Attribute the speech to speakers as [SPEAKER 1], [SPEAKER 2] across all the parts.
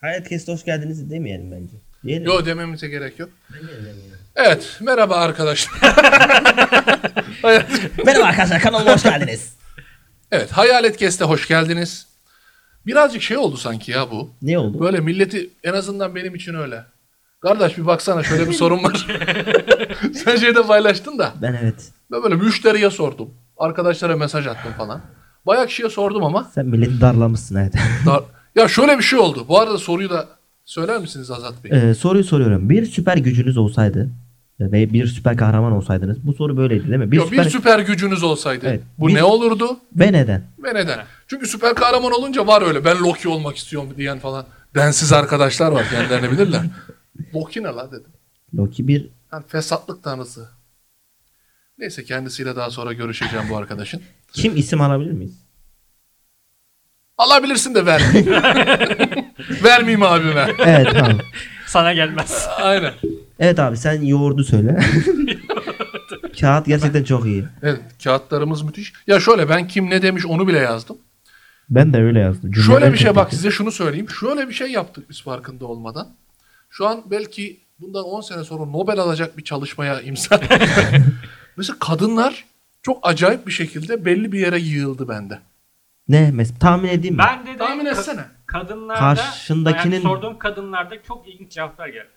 [SPEAKER 1] Herkese hoş geldiniz demeyelim bence. Diyelim.
[SPEAKER 2] Yo dememize gerek yok.
[SPEAKER 1] Demeyelim, demeyelim.
[SPEAKER 2] Evet merhaba arkadaşlar.
[SPEAKER 1] Merhaba arkadaşlar kanalıma hoş geldiniz.
[SPEAKER 2] Evet Hayalet Kest'e hoş geldiniz. Birazcık şey oldu sanki ya bu.
[SPEAKER 1] Ne oldu?
[SPEAKER 2] Böyle milleti en azından benim için öyle. Kardeş bir baksana şöyle bir sorun var. Sen şeyde paylaştın da.
[SPEAKER 1] Ben evet.
[SPEAKER 2] Ben böyle müşteriye sordum. Arkadaşlara mesaj attım falan. Bayağı kişiye sordum ama.
[SPEAKER 1] Sen milleti darlamışsın evet.
[SPEAKER 2] dar- Ya şöyle bir şey oldu. Bu arada soruyu da söyler misiniz Azat Bey?
[SPEAKER 1] Ee, soruyu soruyorum. Bir süper gücünüz olsaydı e, ve bir süper kahraman olsaydınız. Bu soru böyleydi değil mi? Bir
[SPEAKER 2] Yok,
[SPEAKER 1] süper...
[SPEAKER 2] bir süper gücünüz olsaydı
[SPEAKER 1] Evet,
[SPEAKER 2] bu
[SPEAKER 1] bir-
[SPEAKER 2] ne olurdu
[SPEAKER 1] Ve neden?
[SPEAKER 2] ve neden? Çünkü süper kahraman olunca var öyle ben Loki olmak istiyorum diyen falan. Densiz arkadaşlar var kendilerini bilirler. Loki ne la dedim.
[SPEAKER 1] Loki bir
[SPEAKER 2] Yani fesatlık tanrısı. Neyse kendisiyle daha sonra görüşeceğim bu arkadaşın.
[SPEAKER 1] kim isim alabilir miyiz?
[SPEAKER 2] Alabilirsin de vermeyeyim. vermeyeyim abime.
[SPEAKER 1] Evet tamam.
[SPEAKER 3] Sana gelmez.
[SPEAKER 2] Aynen.
[SPEAKER 1] Evet abi sen yoğurdu söyle. Kağıt gerçekten çok iyi.
[SPEAKER 2] Evet kağıtlarımız müthiş. Ya şöyle ben kim ne demiş onu bile yazdım.
[SPEAKER 1] Ben de öyle yazdım.
[SPEAKER 2] Şöyle bir şey bak size şunu söyleyeyim. Şöyle bir şey yaptık biz farkında olmadan. Şu an belki bundan 10 sene sonra Nobel alacak bir çalışmaya imza. Mesela kadınlar çok acayip bir şekilde belli bir yere yığıldı bende.
[SPEAKER 1] Ne mes tahmin edeyim mi?
[SPEAKER 3] Ben de
[SPEAKER 2] Tahmin etsene.
[SPEAKER 3] kadınlarda
[SPEAKER 1] Karşındakinin-
[SPEAKER 3] yani sorduğum kadınlarda çok ilginç cevaplar geldi.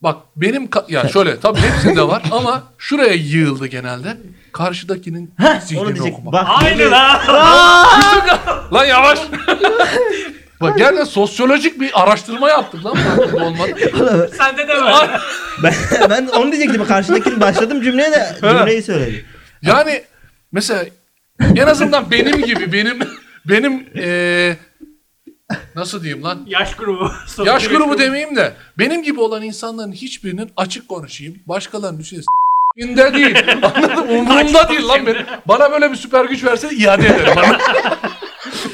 [SPEAKER 2] Bak benim ka- ya şöyle tabii hepsinde var ama şuraya yığıldı genelde. Karşıdakinin
[SPEAKER 1] Onu
[SPEAKER 2] zihnini
[SPEAKER 1] diyecek.
[SPEAKER 2] okumak.
[SPEAKER 1] Bak.
[SPEAKER 3] Aynı lan.
[SPEAKER 2] Lan yavaş. Bak gerçekten sosyolojik bir araştırma yaptık lan. farkında olmadan.
[SPEAKER 3] Sende de var.
[SPEAKER 1] ben, ben onu diyecektim. Karşıdakini başladım cümleye de cümleyi söyledim.
[SPEAKER 2] Yani mesela en azından benim gibi benim benim eee, nasıl diyeyim lan?
[SPEAKER 3] Yaş grubu.
[SPEAKER 2] Yaş grubu demeyeyim de benim gibi olan insanların hiçbirinin açık konuşayım. Başkalarının düşünsün. İnde değil. Anladın mı? Umurumda değil lan benim. Bana böyle bir süper güç verse iade ederim. Bana.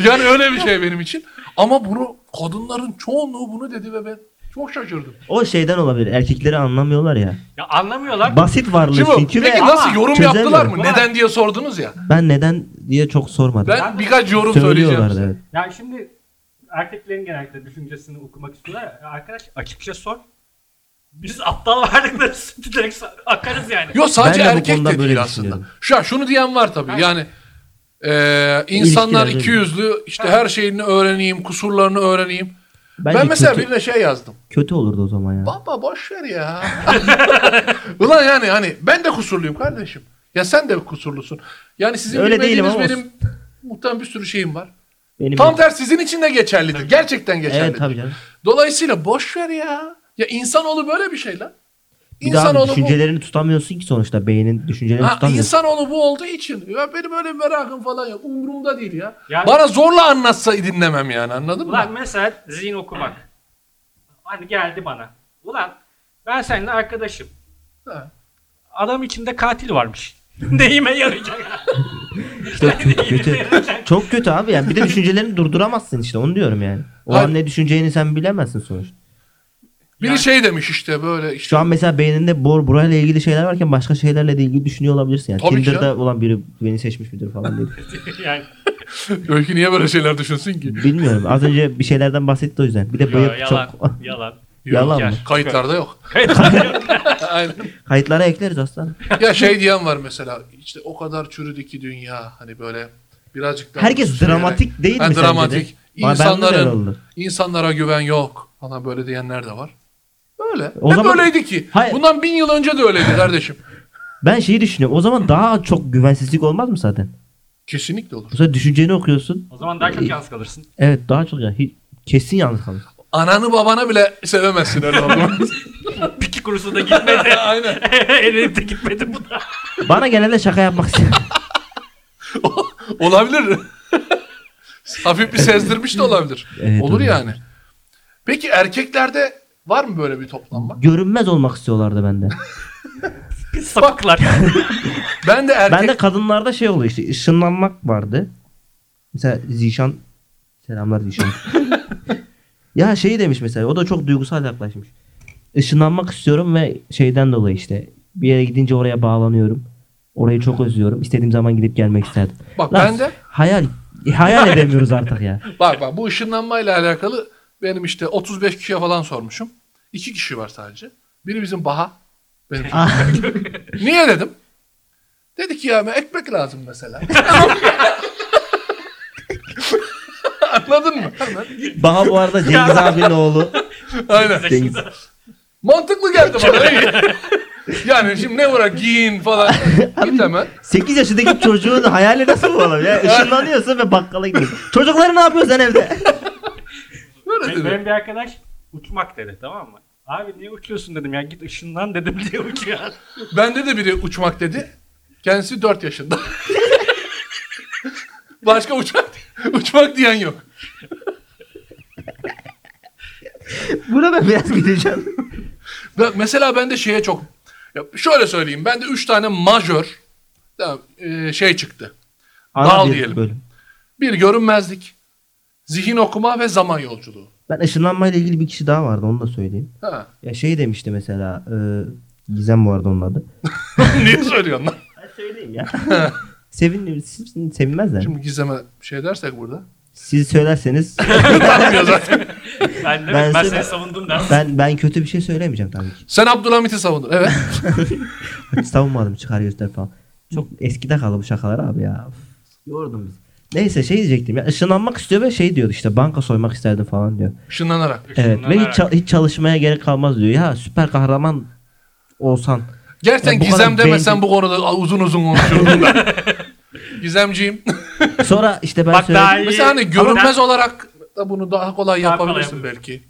[SPEAKER 2] yani öyle bir şey benim için. Ama bunu kadınların çoğunluğu bunu dedi ve ben çok şaşırdım.
[SPEAKER 1] O şeyden olabilir. Erkekleri anlamıyorlar ya.
[SPEAKER 3] Ya anlamıyorlar.
[SPEAKER 1] Basit varlığı
[SPEAKER 2] Şimdi
[SPEAKER 1] çünkü ve
[SPEAKER 2] peki nasıl yorum
[SPEAKER 1] çözemiyorum.
[SPEAKER 2] yaptılar mı?
[SPEAKER 3] Var.
[SPEAKER 2] Neden diye sordunuz ya.
[SPEAKER 1] Ben neden diye çok sormadım.
[SPEAKER 2] Ben birkaç yorum söyleyeceğim.
[SPEAKER 1] Söylüyorlardı
[SPEAKER 2] size.
[SPEAKER 1] evet.
[SPEAKER 3] Yani şimdi erkeklerin genellikle düşüncesini okumak istiyorlar. Ya Arkadaş açıkça sor. Biz aptal varlıkları direkt akarız yani.
[SPEAKER 2] Yok sadece
[SPEAKER 1] Ben de bu
[SPEAKER 2] erkek
[SPEAKER 1] konuda
[SPEAKER 2] de
[SPEAKER 1] böyle
[SPEAKER 2] değil aslında.
[SPEAKER 1] düşünüyorum.
[SPEAKER 2] Şu an şunu diyen var tabii. Yani eee, insanlar
[SPEAKER 1] İlişkilerde-
[SPEAKER 2] iki yüzlü işte her şeyini öğreneyim, kusurlarını öğreneyim.
[SPEAKER 1] Bence
[SPEAKER 2] ben mesela
[SPEAKER 1] kötü,
[SPEAKER 2] birine şey yazdım.
[SPEAKER 1] kötü olurdu o zaman ya.
[SPEAKER 2] Baba boş ver ya. Ulan yani hani ben de kusurluyum kardeşim. Ya sen de kusurlusun. Yani sizin
[SPEAKER 1] Öyle değilim
[SPEAKER 2] bilmediğiniz
[SPEAKER 1] ama
[SPEAKER 2] benim muhtemelen bir sürü şeyim var.
[SPEAKER 1] Benim
[SPEAKER 2] Tam tersi sizin için de geçerlidir. Gerçekten geçerlidir.
[SPEAKER 1] Evet tabii canım.
[SPEAKER 2] Dolayısıyla boş ver ya. Ya insanoğlu böyle bir şey lan.
[SPEAKER 1] Bir daha
[SPEAKER 2] İnsanoğlu bu.
[SPEAKER 1] düşüncelerini tutamıyorsun ki sonuçta beynin düşüncelerini
[SPEAKER 2] Ha,
[SPEAKER 1] tutamıyorsun.
[SPEAKER 2] insanoğlu bu olduğu için. Ya benim öyle bir merakım falan yok. Umurumda değil ya.
[SPEAKER 3] Yani-
[SPEAKER 2] Bana zorla anlatsa dinlemem yani anladın
[SPEAKER 3] Ulan
[SPEAKER 2] mı?
[SPEAKER 3] mesela zihin okumak. Hani geldi bana. Ulan ben seninle arkadaşım.
[SPEAKER 2] Ha.
[SPEAKER 3] Adam içinde katil varmış. Neyime yarayacak?
[SPEAKER 1] İşte çok kötü.
[SPEAKER 3] yarayacak.
[SPEAKER 1] Çok kötü abi yani. Bir de düşüncelerini durduramazsın işte onu diyorum yani. O
[SPEAKER 2] Hayır.
[SPEAKER 1] an ne düşüneceğini sen bilemezsin sonuçta.
[SPEAKER 2] Biri şey demiş işte böyle işte.
[SPEAKER 1] Şu an mesela beyninde bor burayla ilgili şeyler varken başka şeylerle de ilgili düşünüyor olabilirsin yani.
[SPEAKER 2] Tabii ki
[SPEAKER 1] Tinder'da
[SPEAKER 2] canım.
[SPEAKER 1] olan biri beni seçmiş midir falan diye.
[SPEAKER 3] yani
[SPEAKER 2] Öykü niye böyle şeyler düşünsün ki?
[SPEAKER 1] Bilmiyorum. Az önce bir şeylerden bahsetti o yüzden. Bir de
[SPEAKER 3] yo,
[SPEAKER 1] bıyık
[SPEAKER 3] yalan,
[SPEAKER 1] çok
[SPEAKER 3] yalan.
[SPEAKER 1] yalan mı?
[SPEAKER 3] Yok.
[SPEAKER 2] Kayıtlarda yok. Aynen.
[SPEAKER 1] Kayıtlara ekleriz aslan.
[SPEAKER 2] Ya şey diyen var mesela işte o kadar çürüdü ki dünya hani böyle birazcık daha
[SPEAKER 1] Herkes dramatik değil
[SPEAKER 2] Ha,
[SPEAKER 1] mi
[SPEAKER 2] dramatik.
[SPEAKER 1] sence de? Ba- bende de öyle
[SPEAKER 2] İnsanların
[SPEAKER 1] oldu.
[SPEAKER 2] insanlara güven yok falan böyle diyenler de var. Öyle.
[SPEAKER 1] O
[SPEAKER 2] Hep
[SPEAKER 1] zaman-
[SPEAKER 2] öyleydi ki.
[SPEAKER 1] Hayır.
[SPEAKER 2] Bundan bin yıl önce de öyleydi kardeşim.
[SPEAKER 1] Ben şeyi düşünüyorum. O zaman daha çok güvensizlik olmaz mı zaten?
[SPEAKER 2] Kesinlikle olur.
[SPEAKER 1] Bu sefer düşünceni okuyorsun.
[SPEAKER 3] O zaman daha çok yalnız kalırsın.
[SPEAKER 1] Evet daha çok yani. Hiç- Kesin yalnız kalırsın.
[SPEAKER 2] Ananı babana bile sevemezsin öyle oldu.
[SPEAKER 3] Piki kurusu da gitmedi.
[SPEAKER 2] Aynen.
[SPEAKER 3] Elimde gitmedi bu da.
[SPEAKER 1] Bana genelde şaka yapmak istiyor.
[SPEAKER 2] olabilir. Hafif bir sezdirmiş de olabilir.
[SPEAKER 1] Evet,
[SPEAKER 2] olur
[SPEAKER 1] olabilir.
[SPEAKER 2] yani. Peki erkeklerde var mı böyle bir toplanma?
[SPEAKER 1] Görünmez olmak istiyorlardı bende.
[SPEAKER 3] Sapıklar.
[SPEAKER 2] Ben de erkek
[SPEAKER 1] Bende kadınlarda şey oluyor işte ışınlanmak vardı. Mesela Zişan selamlar Zişan. ya şey demiş mesela o da çok duygusal yaklaşmış. Işınlanmak istiyorum ve şeyden dolayı işte bir yere gidince oraya bağlanıyorum. Orayı çok özlüyorum. İstediğim zaman gidip gelmek isterdim.
[SPEAKER 2] Bak
[SPEAKER 1] Lan
[SPEAKER 2] ben de-
[SPEAKER 1] hayal hayal edemiyoruz artık ya.
[SPEAKER 2] Bak bak bu ışınlanmayla alakalı Benim işte 35 kişiye falan sormuşum. İki kişi var sadece. Biri bizim Baha. Benim Niye dedim? Dedi ki ya ekmek lazım mesela. Anladın mı?
[SPEAKER 1] Baha bu arada Cengiz abinin oğlu.
[SPEAKER 2] Aynen.
[SPEAKER 1] Cengiz.
[SPEAKER 2] Mantıklı geldi bana. iyi. yani şimdi ne uğra giyin falan. Git hemen.
[SPEAKER 1] 8 yaşındaki çocuğun hayali nasıl bu oğlum ya? Işınlanıyorsun ve bakkala gidiyorsun. Çocukları ne yapıyorsun sen evde?
[SPEAKER 2] Böyle
[SPEAKER 3] Benim,
[SPEAKER 2] dedi.
[SPEAKER 3] benim bir arkadaş uçmak dedi tamam mı? Abi niye uçuyorsun dedim ya git ışınlan dedim diye uçuyor.
[SPEAKER 2] Bende de biri uçmak dedi. Kendisi 4 yaşında. Başka uçak uçmak diyen yok.
[SPEAKER 1] Buna ben biraz gideceğim.
[SPEAKER 2] Ben- Mesela ben de şeye çok... Ya şöyle söyleyeyim. Bende 3 tane majör tamam, e, şey çıktı. Dal
[SPEAKER 1] bir
[SPEAKER 2] diyelim.
[SPEAKER 1] Bölüm.
[SPEAKER 2] Bir görünmezlik, zihin okuma ve zaman yolculuğu.
[SPEAKER 1] Ben ışınlanmayla ilgili bir kişi daha vardı onu da söyleyeyim.
[SPEAKER 2] Ha.
[SPEAKER 1] Ya şey demişti mesela. E, Gizem bu arada onun adı.
[SPEAKER 2] Niye söylüyorsun lan?
[SPEAKER 1] Ben söyleyeyim ya. Sevin, siz- sevinmezler.
[SPEAKER 2] Şimdi gizleme şey dersek burada.
[SPEAKER 1] Siz söylerseniz
[SPEAKER 2] Tanımıyor zaten.
[SPEAKER 3] Ben de
[SPEAKER 1] Ben
[SPEAKER 3] ben,
[SPEAKER 1] seni-
[SPEAKER 3] seni savundum dersin.
[SPEAKER 1] ben ben kötü bir şey söylemeyeceğim tabii ki.
[SPEAKER 2] Sen Abdülhamit'i savundun. Evet.
[SPEAKER 1] Hiç savunmadım çıkar göster falan. Çok eskide kaldı bu şakalar abi ya. Of, Yordum bizi. Neyse şey diyecektim ya ışınlanmak istiyor ve şey diyor işte banka soymak isterdim falan diyor.
[SPEAKER 2] Işınlanarak.
[SPEAKER 1] Evet ve hiç,
[SPEAKER 3] Işınlanarak.
[SPEAKER 1] çal- hiç çalışmaya gerek kalmaz diyor. Ya süper kahraman olsan.
[SPEAKER 2] Gerçekten
[SPEAKER 1] Ya bu
[SPEAKER 2] gizem
[SPEAKER 1] kadar
[SPEAKER 2] demesen
[SPEAKER 1] bencil-
[SPEAKER 2] bu konuda uzun uzun konuşurdum ben. Gizemciğim.
[SPEAKER 1] Sonra işte ben
[SPEAKER 3] Bak
[SPEAKER 1] söyledim.
[SPEAKER 3] daha iyi.
[SPEAKER 2] Mesela hani
[SPEAKER 3] Ama
[SPEAKER 2] görünmez olarak da bunu daha kolay
[SPEAKER 3] Daha kolay
[SPEAKER 2] yapabilirsin
[SPEAKER 3] yapabilirim.
[SPEAKER 2] belki.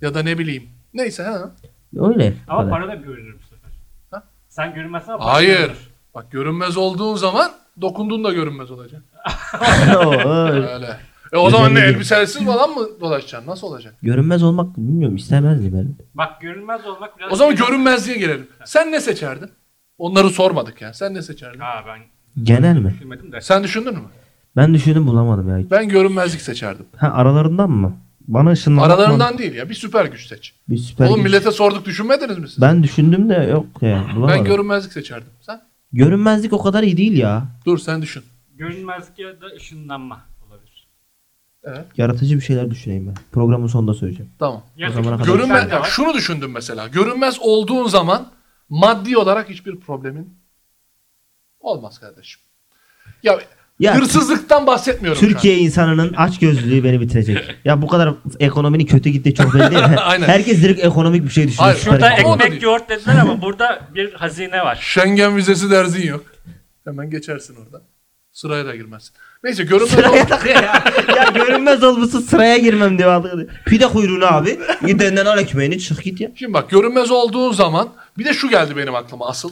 [SPEAKER 2] Ya da ne bileyim. Neyse ha.
[SPEAKER 1] Öyle.
[SPEAKER 3] Ama
[SPEAKER 1] Kadar.
[SPEAKER 3] para da görünür bu sefer.
[SPEAKER 2] Ha?
[SPEAKER 3] Sen görünmezsin ama para
[SPEAKER 2] Hayır.
[SPEAKER 3] görünür.
[SPEAKER 2] Bak görünmez olduğun zaman dokunduğun da görünmez olacak.
[SPEAKER 1] Oo,
[SPEAKER 2] Öyle. E o zaman ne
[SPEAKER 1] Özelliği.
[SPEAKER 2] elbisesiz falan mı dolaşacaksın? Nasıl olacak?
[SPEAKER 1] Görünmez olmak bilmiyorum istemezdim ben.
[SPEAKER 3] Bak görünmez olmak biraz...
[SPEAKER 2] O zaman görünmezliğe girelim. Sen ne seçerdin? Onları sormadık ya. Sen ne seçerdin?
[SPEAKER 3] Ha ben
[SPEAKER 1] Genel mi?
[SPEAKER 3] bilmedim de.
[SPEAKER 2] Sen düşündün mü?
[SPEAKER 1] Ben düşündüm bulamadım ya.
[SPEAKER 2] Ben görünmezlik seçerdim.
[SPEAKER 1] Ha aralarından mı? Bana ışınlanmak
[SPEAKER 2] Aralarından değil ya. Bir süper güç seç.
[SPEAKER 1] bir süper
[SPEAKER 2] Oğlum
[SPEAKER 1] güç-
[SPEAKER 2] millete sorduk düşünmediniz mi siz?
[SPEAKER 1] Ben düşündüm de yok ya. Bulamadım.
[SPEAKER 2] Ben görünmezlik seçerdim. Sen?
[SPEAKER 1] Görünmezlik o kadar iyi değil ya.
[SPEAKER 2] Dur sen düşün.
[SPEAKER 3] Görünmezlik ya da ışınlanma olabilir.
[SPEAKER 2] Evet.
[SPEAKER 1] Yaratıcı bir şeyler düşüneyim ben. Programın sonunda söyleyeceğim.
[SPEAKER 2] Tamam.
[SPEAKER 3] Ya
[SPEAKER 1] zamana kadar-
[SPEAKER 2] Görünme,
[SPEAKER 3] Görünmez...
[SPEAKER 2] ya şunu düşündüm mesela. Görünmez olduğun zaman maddi olarak hiçbir problemin olmaz kardeşim. Ya,
[SPEAKER 1] Ya
[SPEAKER 2] hırsızlıktan bahsetmiyorum. şu an.
[SPEAKER 1] Türkiye insanının aç beni bitirecek. ya bu kadar ekonominin kötü gittiği çok belli değil mi?
[SPEAKER 2] Aynen.
[SPEAKER 1] Herkes direkt ekonomik bir şey düşünüyor.
[SPEAKER 2] Hayır,
[SPEAKER 1] süper
[SPEAKER 3] Şurada
[SPEAKER 2] Ama o da
[SPEAKER 1] ekonomi.
[SPEAKER 2] değil.
[SPEAKER 3] ekmek yoğurt dediler ama burada bir hazine var.
[SPEAKER 2] Schengen vizesi derzin yok. Hemen geçersin oradan. Sıraya da girmezsin. Neyse görünmez ol-
[SPEAKER 1] Sıraya takıyor ya. ya görünmez olmuşsun sıraya girmem diyor. adam. Pide kuyruğunu abi. Gidenden al ekmeğini çık git ya.
[SPEAKER 2] Şimdi bak görünmez olduğun zaman bir de şu geldi benim aklıma asıl.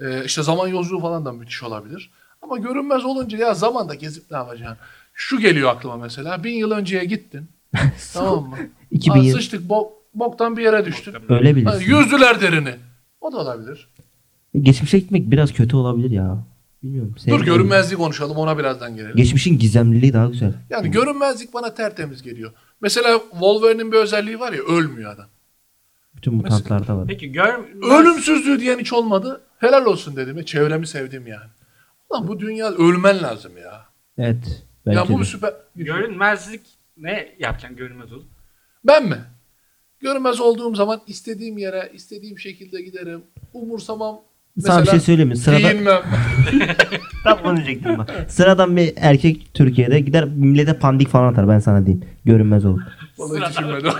[SPEAKER 2] Ee, işte zaman yolculuğu falan da müthiş olabilir. Ama görünmez olunca ya zamanda gezip ne yapacaksın? Şu geliyor aklıma mesela. Bin yıl önceye gittin. tamam mı?
[SPEAKER 1] 2000
[SPEAKER 2] Aa,
[SPEAKER 1] yıl.
[SPEAKER 2] sıçtık bok, boktan bir yere düştün.
[SPEAKER 1] Öyle
[SPEAKER 2] Ha,
[SPEAKER 1] bilirsin.
[SPEAKER 2] yüzdüler derini. O da olabilir.
[SPEAKER 1] Geçmişe gitmek biraz kötü olabilir ya. Bilmiyorum.
[SPEAKER 2] Dur
[SPEAKER 1] sevmiyorum.
[SPEAKER 2] görünmezliği konuşalım ona birazdan gelelim.
[SPEAKER 1] Geçmişin gizemliliği daha güzel.
[SPEAKER 2] Yani görünmezlik bana tertemiz geliyor. Mesela Wolverine'in bir özelliği var ya ölmüyor adam.
[SPEAKER 1] Bütün mutantlarda var.
[SPEAKER 3] Peki görünmez...
[SPEAKER 2] Ölümsüzlüğü diyen hiç olmadı. Helal olsun dedim. ya, Çevremi sevdim yani. Ulan bu dünya ölmen lazım ya.
[SPEAKER 1] Evet. Belki
[SPEAKER 2] ya bu
[SPEAKER 1] de.
[SPEAKER 2] bir süper...
[SPEAKER 3] Görünmezlik ne yapacaksın görünmez olup?
[SPEAKER 2] Ben mi? Görünmez olduğum zaman istediğim yere, istediğim şekilde giderim. Umursamam.
[SPEAKER 1] Sana bir şey söyleyeyim mi? Sırada...
[SPEAKER 2] giyinmem.
[SPEAKER 1] Tam onu diyecektim bak. Sıradan bir erkek Türkiye'de gider millete pandik falan atar ben sana diyeyim. Görünmez olur.
[SPEAKER 2] Vallahi şey hiç düşünmedim.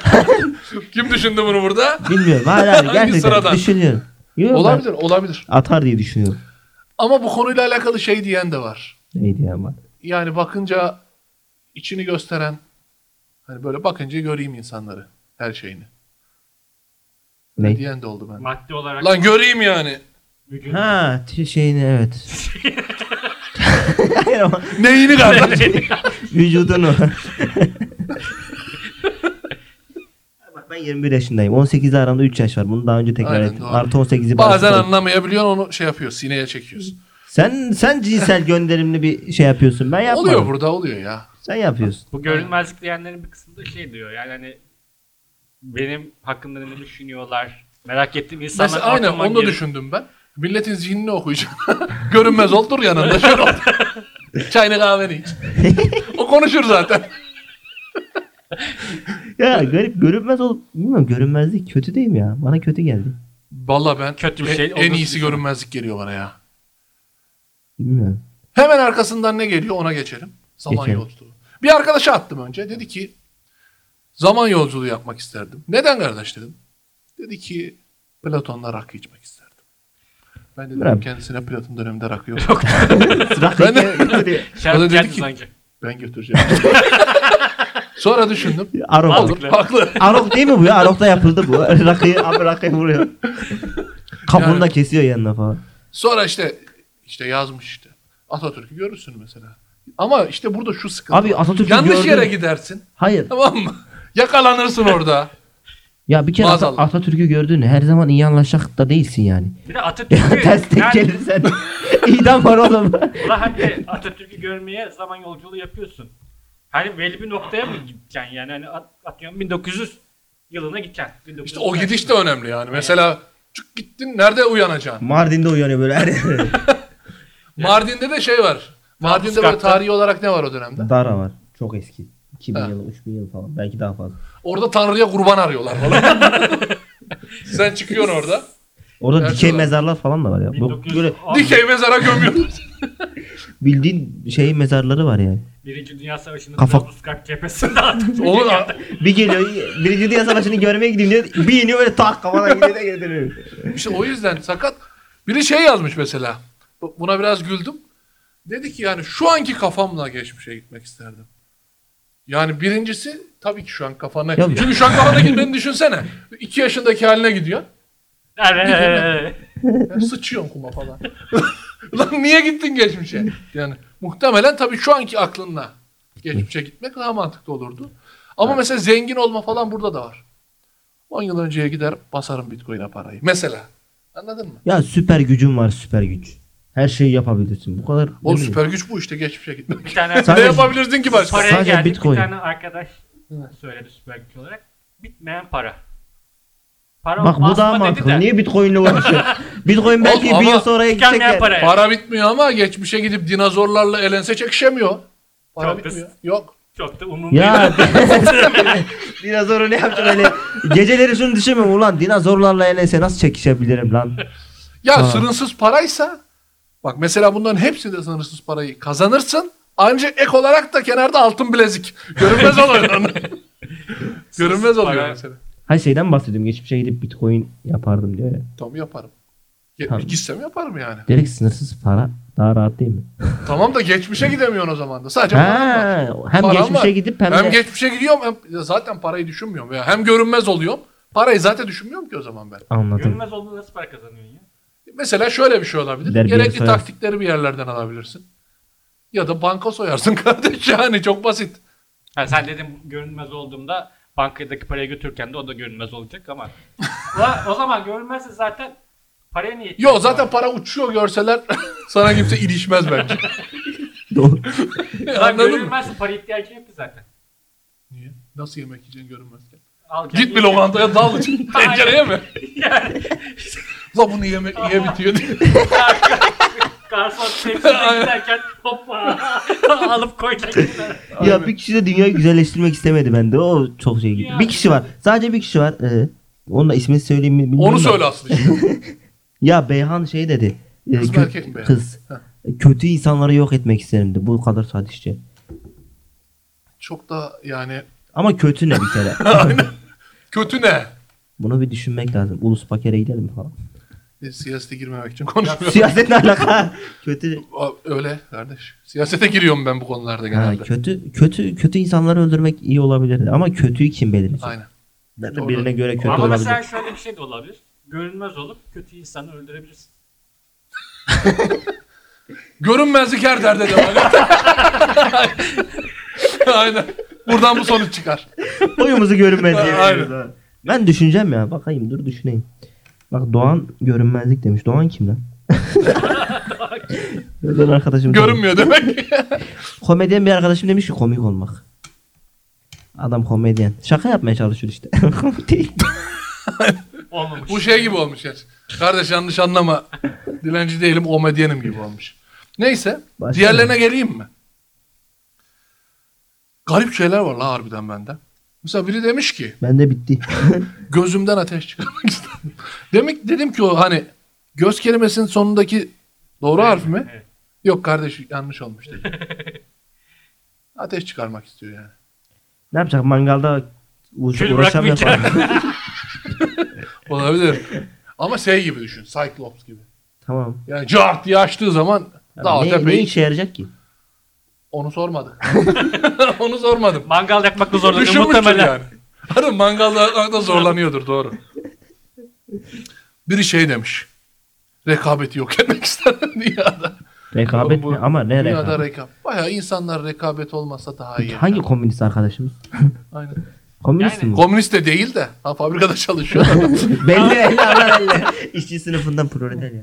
[SPEAKER 2] Kim düşündü bunu burada?
[SPEAKER 1] Bilmiyorum hala
[SPEAKER 2] Hangi
[SPEAKER 1] gerçekten
[SPEAKER 2] sıradan?
[SPEAKER 1] düşünüyorum. Yok, ben
[SPEAKER 2] Olabilir, olabilir.
[SPEAKER 1] Atar diye düşünüyorum.
[SPEAKER 2] Ama bu konuyla alakalı şey diyen de var.
[SPEAKER 1] Neydi ya bak.
[SPEAKER 2] Yani bakınca içini gösteren, hani böyle bakınca göreyim insanları, her şeyini.
[SPEAKER 1] Ne?
[SPEAKER 2] Diyen de oldu bende.
[SPEAKER 3] Maddi olarak...
[SPEAKER 2] Lan göreyim yani.
[SPEAKER 3] vücut-
[SPEAKER 1] Ha t- şeyini evet. Hayır ama
[SPEAKER 2] Neyini kardeşim?
[SPEAKER 1] vücudunu. Bak ben 21 yaşındayım. 18 ile aramda 3 yaş var. Bunu daha önce tekrar
[SPEAKER 2] Aynen,
[SPEAKER 1] ettim.
[SPEAKER 2] doğru.
[SPEAKER 1] Artı 18'i
[SPEAKER 2] Bazen
[SPEAKER 1] bastım.
[SPEAKER 2] anlamayabiliyorsun onu şey yapıyor, sineye çekiyorsun.
[SPEAKER 1] Sen sen cinsel gönderimli bir şey yapıyorsun. Ben yapmadım.
[SPEAKER 2] Oluyor burada, oluyor ya.
[SPEAKER 1] Sen yapıyorsun.
[SPEAKER 3] Bu görünmezlik diyenlerin bir kısmı da şey diyor yani hani benim hakkımda ne düşünüyorlar merak ettiğim insanlar
[SPEAKER 2] Mesela aynen
[SPEAKER 3] ortama
[SPEAKER 2] onu da
[SPEAKER 3] girip-
[SPEAKER 2] düşündüm ben. Milletin zihnini okuyacağım. Görünmez ol dur yanında şöyle ol. Çayını kahveni iç. o konuşur zaten.
[SPEAKER 1] ya garip görünmez olup bilmiyorum görünmezlik kötü değil mi ya? Bana kötü geldi.
[SPEAKER 2] Valla ben
[SPEAKER 3] Kötü bir
[SPEAKER 2] e-
[SPEAKER 3] şey
[SPEAKER 2] en
[SPEAKER 3] olduğunu
[SPEAKER 2] iyisi
[SPEAKER 3] düşünüyorum.
[SPEAKER 2] görünmezlik geliyor bana ya.
[SPEAKER 1] Bilmiyorum.
[SPEAKER 2] Hemen arkasından ne geliyor ona geçelim. Zaman
[SPEAKER 1] Geçelim.
[SPEAKER 2] yolculuğu. Bir arkadaşa attım önce. Dedi ki zaman yolculuğu yapmak isterdim. Neden kardeş dedim. Dedi ki Platon'la rakı içmek isterdim. Ben dedim
[SPEAKER 1] Bravo.
[SPEAKER 2] kendisine Platon döneminde rakı yok.
[SPEAKER 1] Rakı getiriyor.
[SPEAKER 2] Bana
[SPEAKER 3] Şarkı
[SPEAKER 2] dedi
[SPEAKER 3] geldi
[SPEAKER 2] ki-
[SPEAKER 3] sanki.
[SPEAKER 2] ben götüreceğim. Sonra düşündüm.
[SPEAKER 1] Arok.
[SPEAKER 2] Olur, haklı.
[SPEAKER 1] Arok değil mi bu ya? Arok'ta yapıldı bu. Rakıyı abi rakıyı vuruyor. Kabuğunu da kesiyor yanına falan.
[SPEAKER 2] Sonra işte işte yazmış işte. Atatürk'ü görürsün mesela. Ama işte burada şu sıkıntı.
[SPEAKER 1] Abi
[SPEAKER 2] var.
[SPEAKER 1] Atatürk'ü
[SPEAKER 2] Yanlış
[SPEAKER 1] gördüm.
[SPEAKER 2] yere gidersin.
[SPEAKER 1] Hayır.
[SPEAKER 2] Tamam mı? Yakalanırsın orada.
[SPEAKER 1] Ya bir kere At-
[SPEAKER 2] Maazallah.
[SPEAKER 1] Atatürk'ü gördün her zaman iyi anlaşacak da değilsin yani.
[SPEAKER 3] Bir de Atatürk'ü
[SPEAKER 1] Ters tek
[SPEAKER 3] yani,
[SPEAKER 1] gelirsen idam var oğlum.
[SPEAKER 3] ulan hani Atatürk'ü görmeye zaman yolculuğu yapıyorsun. Hani belli bir noktaya mı gideceksin yani hani at- atıyorum 1900 yılına gideceksin. 1900
[SPEAKER 2] İşte o gidiş de önemli yani. Mesela çık gittin nerede uyanacaksın?
[SPEAKER 1] Mardin'de uyanıyor böyle her
[SPEAKER 2] Mardin'de de şey var. Mardin'de böyle
[SPEAKER 3] Kapıskak'ta.
[SPEAKER 2] tarihi olarak ne var o dönemde?
[SPEAKER 1] Dara var. Çok eski. 2000
[SPEAKER 2] Ha.
[SPEAKER 1] yıl, 3000 yıl falan. Belki daha fazla.
[SPEAKER 2] Orada Tanrı'ya kurban arıyorlar falan. Sen çıkıyorsun orada.
[SPEAKER 1] Orada
[SPEAKER 2] Evet,
[SPEAKER 1] dikey
[SPEAKER 2] var.
[SPEAKER 1] mezarlar falan da var ya. Bu
[SPEAKER 3] 1900
[SPEAKER 1] böyle
[SPEAKER 3] Aa,
[SPEAKER 2] Dikey mezara gömüyorsun.
[SPEAKER 1] bildiğin şey mezarları var yani.
[SPEAKER 3] Birinci Dünya Savaşı'nın
[SPEAKER 1] Kafa-
[SPEAKER 3] Trablusgarp cephesinde Atatürk'ü
[SPEAKER 2] Oğlum,
[SPEAKER 3] geldi.
[SPEAKER 1] Bir geliyor, birinci dünya savaşını görmeye gideyim diyor. Bir iniyor böyle tak kafana gidiyor da getiriyor.
[SPEAKER 2] İşte o yüzden sakat. Biri şey yazmış mesela. Bu- Buna biraz güldüm. Dedi ki yani şu anki kafamla geçmişe gitmek isterdim. Yani birincisi tabii ki şu an kafana.
[SPEAKER 1] Ya-
[SPEAKER 2] Çünkü şu an kafana gitmeni düşünsene. 2 yaşındaki haline gidiyorsun.
[SPEAKER 3] Evet.
[SPEAKER 2] Yani sıçıyorsun kuma falan. Lan niye gittin geçmişe? Yani muhtemelen tabii şu anki aklınla geçmişe gitmek daha mantıklı olurdu. Ama mesela zengin olma falan burada da var. 10 yıl önceye gider basarım bitcoin'e parayı. Mesela. Anladın mı?
[SPEAKER 1] Ya süper gücün var süper güç. Her şeyi yapabilirsin. Bu kadar.
[SPEAKER 2] O
[SPEAKER 1] ne bileyim.
[SPEAKER 2] süper güç bu işte geçmişe gitmek.
[SPEAKER 3] Bir tane
[SPEAKER 2] ne
[SPEAKER 1] Sadece-
[SPEAKER 2] yapabilirsin ki başka?
[SPEAKER 3] paraya
[SPEAKER 1] Sadece
[SPEAKER 3] geldik
[SPEAKER 1] Bitcoin.
[SPEAKER 3] bir tane arkadaş söyledi süper güç olarak. Bitmeyen para. Para
[SPEAKER 1] Bak bu daha
[SPEAKER 3] basma dedi de,
[SPEAKER 1] mantıklı. Niye Bitcoin'le uğraşıyor? Bitcoin belki
[SPEAKER 2] Oğlum
[SPEAKER 1] bir yıl
[SPEAKER 2] ama
[SPEAKER 1] sonra gidecek
[SPEAKER 3] Tükenmeyen
[SPEAKER 1] yani.
[SPEAKER 3] para. yani.
[SPEAKER 2] Para bitmiyor ama geçmişe gidip dinozorlarla elense çekişemiyor. Para
[SPEAKER 3] Çok
[SPEAKER 2] bitmiyor. Yok.
[SPEAKER 3] Çok da umurumda
[SPEAKER 1] Ya dinozoru ne yaptın öyle? Geceleri şunu düşünmüyorum ulan dinozorlarla enese nasıl çekişebilirim lan?
[SPEAKER 2] Ya
[SPEAKER 1] Ha.
[SPEAKER 2] sınırsız paraysa bak mesela bunların hepsinde sınırsız parayı kazanırsın. Ancak ek olarak da kenarda altın bilezik. Görünmez oluyor. lan. Görünmez oluyor
[SPEAKER 3] para.
[SPEAKER 2] mesela.
[SPEAKER 1] Her şeyden bahsediyorum. Geçmişe gidip Bitcoin yapardım diyor ya.
[SPEAKER 2] Tamam yaparım.
[SPEAKER 1] Tamam.
[SPEAKER 2] Ge- gitsem yaparım yani.
[SPEAKER 1] Direkt sınırsız para daha rahat değil mi?
[SPEAKER 2] Tamam da geçmişe gidemiyorsun o zaman da. Sadece paran var.
[SPEAKER 1] Ha, hem
[SPEAKER 2] Param
[SPEAKER 1] geçmişe
[SPEAKER 2] var.
[SPEAKER 1] gidip hem, de...
[SPEAKER 2] geçmişe gidiyorum hem ya zaten parayı düşünmüyorum. Ya hem görünmez oluyorum. Parayı zaten düşünmüyorum ki o zaman ben.
[SPEAKER 1] Anladım.
[SPEAKER 3] Görünmez olduğunda nasıl para kazanıyorsun ya?
[SPEAKER 2] Mesela şöyle bir şey olabilir.
[SPEAKER 1] Gider bir yere
[SPEAKER 2] Gerekli
[SPEAKER 1] soyarsın.
[SPEAKER 2] taktikleri bir yerlerden alabilirsin. Ya da banka soyarsın kardeş yani çok basit.
[SPEAKER 3] Ha, sen dedin görünmez olduğumda bankadaki parayı götürürken de o da görünmez olacak ama. Ulan o zaman görünmezse zaten paraya niye
[SPEAKER 2] Yo
[SPEAKER 3] ihtiyacın
[SPEAKER 2] zaten
[SPEAKER 3] var?
[SPEAKER 2] para uçuyor görseler sana kimse ilişmez bence.
[SPEAKER 1] Doğru.
[SPEAKER 3] Ulan
[SPEAKER 2] Anladın mı?
[SPEAKER 3] görünmezse para ihtiyacı yok ki zaten.
[SPEAKER 2] Niye? Nasıl yemek yiyeceksin görünmezken?
[SPEAKER 3] Al gel
[SPEAKER 2] Git bir
[SPEAKER 3] ye.
[SPEAKER 2] lokantaya dal pencereye mi?
[SPEAKER 3] Yani
[SPEAKER 2] La bunu yemek yiye bitiyor diye.
[SPEAKER 3] Garson tepsiyle giderken hoppa alıp koyacak.
[SPEAKER 1] ya bir kişi de dünyayı güzelleştirmek istemedi bende. O çok şey gitti.
[SPEAKER 3] Ya.
[SPEAKER 1] Bir kişi var. Sadece bir kişi var. Ee, onun da ismini söyleyeyim mi bilmiyorum
[SPEAKER 2] Onu
[SPEAKER 1] da.
[SPEAKER 2] söyle aslında. şimdi.
[SPEAKER 1] Ya Beyhan şey dedi. Ee,
[SPEAKER 2] Kız mı
[SPEAKER 1] kö-
[SPEAKER 2] erkek mi Beyhan?
[SPEAKER 1] Kız.
[SPEAKER 2] Ha.
[SPEAKER 1] Kötü insanları yok etmek isterim de. Bu kadar sadistçe.
[SPEAKER 2] Çok da yani
[SPEAKER 1] Ama kötü ne bir kere?
[SPEAKER 2] kötü ne?
[SPEAKER 1] Bunu bir düşünmek lazım. Ulus pakere gidelim falan.
[SPEAKER 2] E, Siyasete girmemek için konuşmuyorum.
[SPEAKER 1] Siyaset ne alaka? kötü.
[SPEAKER 2] Aa, Öyle kardeş. Siyasete giriyorum ben bu konularda
[SPEAKER 1] Ha,
[SPEAKER 2] genelde.
[SPEAKER 1] kötü kötü kötü insanları öldürmek iyi olabilirdi ama kötüyü kim belirleyecek?
[SPEAKER 2] Aynen.
[SPEAKER 1] Zaten
[SPEAKER 2] Doğru.
[SPEAKER 1] birine göre kötü
[SPEAKER 3] Ama
[SPEAKER 1] olabilir.
[SPEAKER 3] mesela şöyle bir şey de olabilir. Görünmez olup kötü insanı öldürebilirsin.
[SPEAKER 2] Görünmezlik her derde devam Aynen. Buradan bu sonuç çıkar.
[SPEAKER 1] Boyumuzu görünmez diye.
[SPEAKER 2] Aynen.
[SPEAKER 1] veriyoruz ha. Ben düşüneceğim ya. Bakayım dur düşüneyim. Bak Doğan görünmezlik demiş. Doğan kim lan? Doğan arkadaşım.
[SPEAKER 2] Görünmüyor demek.
[SPEAKER 1] Komedyen bir arkadaşım demiş ki komik olmak. Adam komedyen. Şaka yapmaya çalışıyor işte. Komik değil.
[SPEAKER 3] Olmamış.
[SPEAKER 2] bu şey gibi olmuş yani. Kardeş yanlış anlama. Dilenci değilim, omedyenim gibi olmuş. Neyse.
[SPEAKER 1] Başka
[SPEAKER 2] diğerlerine geleyim mi? Garip şeyler var la harbiden bende. Mesela biri demiş ki
[SPEAKER 1] Ben de bitti.
[SPEAKER 2] gözümden ateş çıkarmak istedim. Demek dedim ki o hani göz kelimesinin sonundaki doğru harf mi?
[SPEAKER 3] evet.
[SPEAKER 2] Yok kardeş yanlış olmuş dedim. ateş çıkarmak istiyor yani.
[SPEAKER 1] ne yapacak mangalda uğraş,
[SPEAKER 4] Şöyle
[SPEAKER 1] uğraşamıyor
[SPEAKER 4] bırakmayacağım.
[SPEAKER 1] falan.
[SPEAKER 2] Olabilir. Ama şey gibi düşün. Cyclops gibi.
[SPEAKER 1] tamam.
[SPEAKER 2] Yani cart diye açtığı zaman
[SPEAKER 1] Ya
[SPEAKER 2] daha
[SPEAKER 1] ne, ne
[SPEAKER 2] tepeyi
[SPEAKER 1] işe yarayacak ki?
[SPEAKER 2] onu sormadık. onu sormadım.
[SPEAKER 4] Mangal yakmakta zorlanıyor
[SPEAKER 2] Düşünmüştür
[SPEAKER 4] muhtemelen.
[SPEAKER 2] yani. Hani mangalda da zorlanıyordur doğru. Biri şey demiş. Rekabeti yok etmek ister dünyada.
[SPEAKER 1] Rekabet
[SPEAKER 2] Bu-
[SPEAKER 1] mi? Ama ne
[SPEAKER 2] Dünyada
[SPEAKER 1] rekabet?
[SPEAKER 2] rekabet. Bayağı insanlar rekabet olmasa daha iyi.
[SPEAKER 1] Hangi komünist arkadaşımız?
[SPEAKER 2] Aynen.
[SPEAKER 1] Komünist
[SPEAKER 4] Yani-
[SPEAKER 1] mi?
[SPEAKER 2] Komünist de değil de. Ha, fabrikada çalışıyor.
[SPEAKER 1] belli belli Allah belli. İşçi sınıfından proletarya.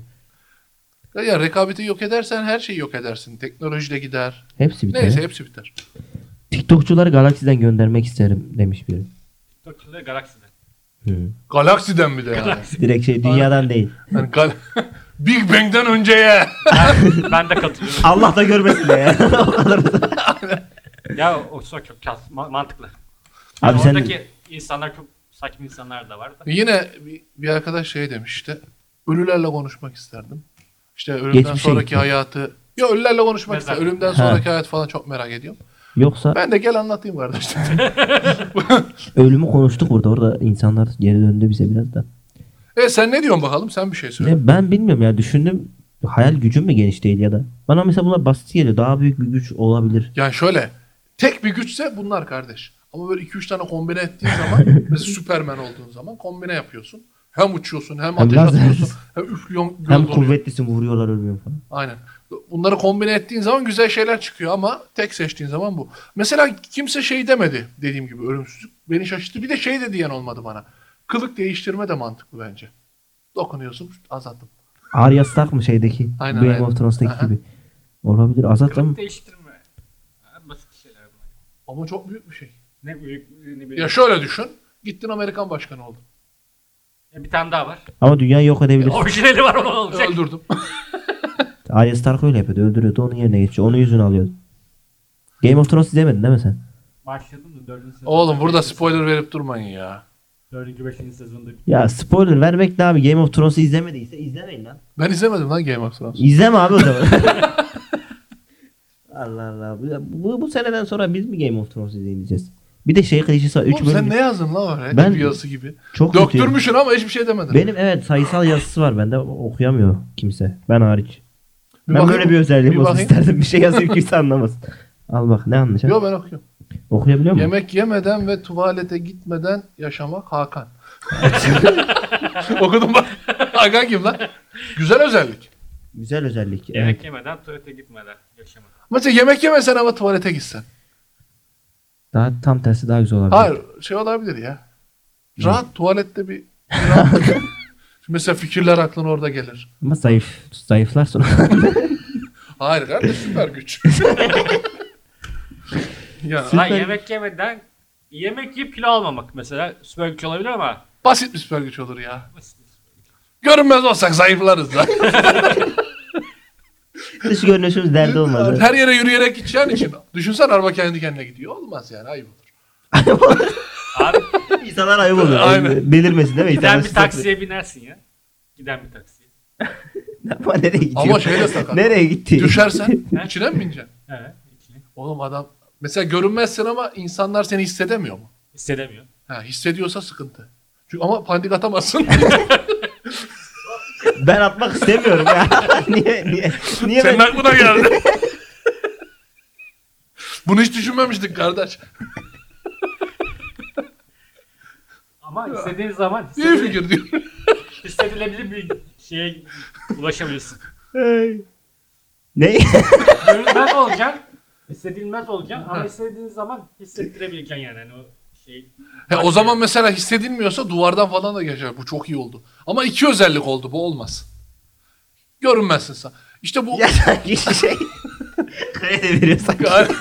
[SPEAKER 2] ya rekabeti yok edersen her şeyi yok edersin. Teknoloji de gider.
[SPEAKER 1] Hepsi biter.
[SPEAKER 2] Neyse hepsi biter.
[SPEAKER 1] TikTokçuları galaksiden göndermek isterim demiş biri.
[SPEAKER 3] TikTokçuları galakside.
[SPEAKER 2] Galaksiden bir de yani.
[SPEAKER 1] Direkt şey dünyadan değil.
[SPEAKER 2] Yani gal- Big Bang'den önceye.
[SPEAKER 3] ben de katılıyorum.
[SPEAKER 1] Allah da görmesin be ya. O kadar da-
[SPEAKER 3] ya o çok çok kas- ma- mantıklı.
[SPEAKER 1] Abi sen
[SPEAKER 3] Oradaki insanlar çok saçma insanlar da var da.
[SPEAKER 2] Yine bir, bir arkadaş şey demiş işte. Ölülerle konuşmak isterdim. İşte ölümden
[SPEAKER 1] Geçmişe
[SPEAKER 2] sonraki
[SPEAKER 1] gitti.
[SPEAKER 2] hayatı. Ya ölülerle konuşmak
[SPEAKER 3] Mezar.
[SPEAKER 2] ister.
[SPEAKER 1] Ha.
[SPEAKER 2] Ölümden sonraki hayat falan çok merak ediyorum.
[SPEAKER 1] yoksa
[SPEAKER 2] Ben de gel anlatayım kardeşim.
[SPEAKER 1] ölümü konuştuk burada. Orada insanlar geri döndü bize biraz da.
[SPEAKER 2] e sen ne diyorsun bakalım? Sen bir şey söyle.
[SPEAKER 1] Ne, ben bilmiyorum ya düşündüm. Hayal gücüm mü geniş değil ya da. Bana mesela bunlar basit geliyor. Daha büyük bir güç olabilir.
[SPEAKER 2] Yani şöyle tek bir güçse bunlar kardeş. Ama böyle 2-3 tane kombine ettiğin zaman mesela Superman olduğun zaman kombine yapıyorsun. Hem uçuyorsun hem ateş
[SPEAKER 1] lazer.
[SPEAKER 2] atıyorsun hem üflüyorsun. göz
[SPEAKER 1] Hem
[SPEAKER 2] oluyor.
[SPEAKER 1] kuvvetlisin vuruyorlar ölmüyor falan.
[SPEAKER 2] Aynen. Bunları kombine ettiğin zaman güzel şeyler çıkıyor ama tek seçtiğin zaman bu. Mesela kimse şey demedi dediğim gibi ölümsüzlük beni şaşırttı. Bir de şey de diyen olmadı bana. Kılık değiştirme de mantıklı bence. Dokunuyorsun azalttım.
[SPEAKER 1] Arya Stark mı şeydeki?
[SPEAKER 2] Aynen,
[SPEAKER 1] Game
[SPEAKER 2] aynen.
[SPEAKER 1] of Thrones'taki
[SPEAKER 2] Aha.
[SPEAKER 1] gibi. Olabilir. Azat mı?
[SPEAKER 3] Kılık değiştirme. Ha, Basit şeyler bunlar.
[SPEAKER 2] Ama çok büyük bir şey.
[SPEAKER 3] Ne büyük ne büyük.
[SPEAKER 2] Ya şöyle düşün. Gittin Amerikan başkanı oldun.
[SPEAKER 3] Ya bir tane daha var.
[SPEAKER 1] Ama dünya yok edebilir.
[SPEAKER 3] Orijinali var ama olacak.
[SPEAKER 2] Öldürdüm.
[SPEAKER 1] Arya Stark öyle yapıyordu. Öldürüyordu. Onun yerine geçiyor. Onun yüzünü alıyordu. Game of Thrones izlemedin değil mi sen?
[SPEAKER 3] Başladım da dördüncü sezon.
[SPEAKER 2] Oğlum burada spoiler verip durmayın ya.
[SPEAKER 3] Dördüncü beşinci sezonda bir
[SPEAKER 1] Ya spoiler vermek ne abi? Game of Thrones'u izlemediyse izlemeyin lan.
[SPEAKER 2] Ben izlemedim lan Game of Thrones.
[SPEAKER 1] İzleme abi o zaman. Allah Allah. Bu- Bu, bu seneden sonra biz mi Game of Thrones izleyeceğiz? Bir de şey klişesi var. 3
[SPEAKER 2] Oğlum sen
[SPEAKER 1] bölüm.
[SPEAKER 2] ne yazdın lan öyle?
[SPEAKER 1] Ben-
[SPEAKER 2] Ben... Piyası gibi.
[SPEAKER 1] Çok kötü.
[SPEAKER 2] Döktürmüşsün ama hiçbir şey demedin.
[SPEAKER 1] Benim evet sayısal yazısı var bende. Okuyamıyor kimse. Ben hariç.
[SPEAKER 2] Bir
[SPEAKER 1] ben
[SPEAKER 2] bakayım.
[SPEAKER 1] böyle bir özelliğim
[SPEAKER 2] Bir
[SPEAKER 1] olsun
[SPEAKER 2] bakayım.
[SPEAKER 1] isterdim. Bir şey yazayım kimse anlamasın. Al bak ne anlayacak?
[SPEAKER 2] Yo ben okuyorum.
[SPEAKER 1] Okuyabiliyor musun?
[SPEAKER 2] Yemek yemeden ve tuvalete gitmeden yaşamak Hakan. Okudum bak. Hakan kim lan? Güzel özellik.
[SPEAKER 1] Güzel özellik. Evet.
[SPEAKER 3] yemek yemeden tuvalete gitmeden yaşamak.
[SPEAKER 2] Mesela yemek yemesen ama tuvalete gitsen.
[SPEAKER 1] Daha tam tersi daha güzel olabilir.
[SPEAKER 2] Hayır şey olabilir ya. Rahat tuvalette bir... Mesela fikirler aklına orada gelir.
[SPEAKER 1] Ama zayıf. Zayıflar sonra.
[SPEAKER 2] Hayır kardeş süper güç. yani
[SPEAKER 1] Süper-
[SPEAKER 3] Lan yemek yemeden yemek yiyip kilo almamak mesela süper güç olabilir ama
[SPEAKER 2] basit bir süper güç olur ya. Görünmez olsak zayıflarız da.
[SPEAKER 1] Dış görünüşümüz derdi olmaz.
[SPEAKER 2] Her yere yürüyerek gideceğin için. Düşünsen araba kendi kendine gidiyor. Olmaz yani ayıp olur.
[SPEAKER 3] abi
[SPEAKER 1] İnsanlar ayıp oluyor.
[SPEAKER 2] Aynen.
[SPEAKER 1] Delirmesin değil mi?
[SPEAKER 3] giden
[SPEAKER 1] İnsanlar
[SPEAKER 3] bir taksiye binersin ya. Giden bir taksiye.
[SPEAKER 1] Ama nereye gidiyor?
[SPEAKER 2] Ama şey de sakat.
[SPEAKER 1] Nereye gitti?
[SPEAKER 2] Düşersen içine mi bineceksin?
[SPEAKER 3] Evet. ikili.
[SPEAKER 2] Oğlum adam mesela görünmezsin ama insanlar seni hissedemiyor mu?
[SPEAKER 3] Hissedemiyor.
[SPEAKER 2] Ha, hissediyorsa sıkıntı. Çünkü ama pandik atamazsın.
[SPEAKER 1] Ben atmak istemiyorum ya. niye niye niye
[SPEAKER 2] Senin
[SPEAKER 1] ben...
[SPEAKER 2] aklına geldi. Bunu hiç düşünmemiştik kardeş.
[SPEAKER 3] Ama istediğin zaman
[SPEAKER 2] İyi
[SPEAKER 3] istediğin-
[SPEAKER 2] fikir diyor.
[SPEAKER 3] hissedilebilir bir şeye ulaşabilirsin.
[SPEAKER 1] ne?
[SPEAKER 3] Görünmez olacaksın, hissedilmez olacaksın ama istediğin zaman hissettirebileceksin yani. Hani o şey
[SPEAKER 2] Ha, o zaman mesela hissedilmiyorsa duvardan falan da geçer. Bu çok iyi oldu. Ama iki özellik oldu. Bu olmaz. Görünmezsin sen. İşte bu...
[SPEAKER 1] ya sanki şey. Kredi veriyor sanki. şey-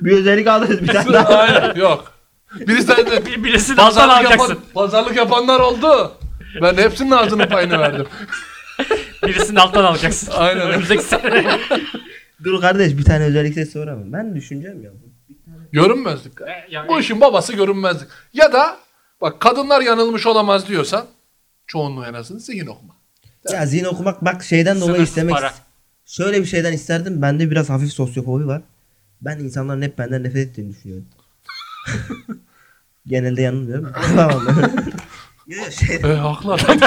[SPEAKER 1] bir özellik aldınız bir tane daha.
[SPEAKER 2] Aynen yok. Birisi de
[SPEAKER 3] bir, birisini alttan
[SPEAKER 2] pazarlık,
[SPEAKER 3] alacaksın.
[SPEAKER 2] yapan, pazarlık yapanlar oldu. Ben hepsinin ağzının payını verdim.
[SPEAKER 3] Birisini alttan alacaksın.
[SPEAKER 2] Aynen.
[SPEAKER 3] Önümüzdeki sene.
[SPEAKER 1] Dur kardeş bir tane özellik sesi soramam. Ben düşüneceğim ya. Bir tane
[SPEAKER 2] Görünmezlik.
[SPEAKER 3] E, yani-
[SPEAKER 2] Bu işin babası görünmezlik. Ya da bak kadınlar yanılmış olamaz diyorsan çoğunluğu en azından zihin okuma.
[SPEAKER 1] Ya zihin okumak bak şeyden dolayı
[SPEAKER 4] Sınırsız
[SPEAKER 1] istemek.
[SPEAKER 4] para.
[SPEAKER 1] Şöyle bir şeyden isterdim. Bende biraz hafif sosyofobi var. Ben insanların hep benden nefret ettiğini düşünüyorum. Genelde yanılmıyorum. tamam. Yo, şey,
[SPEAKER 2] E haklı adam.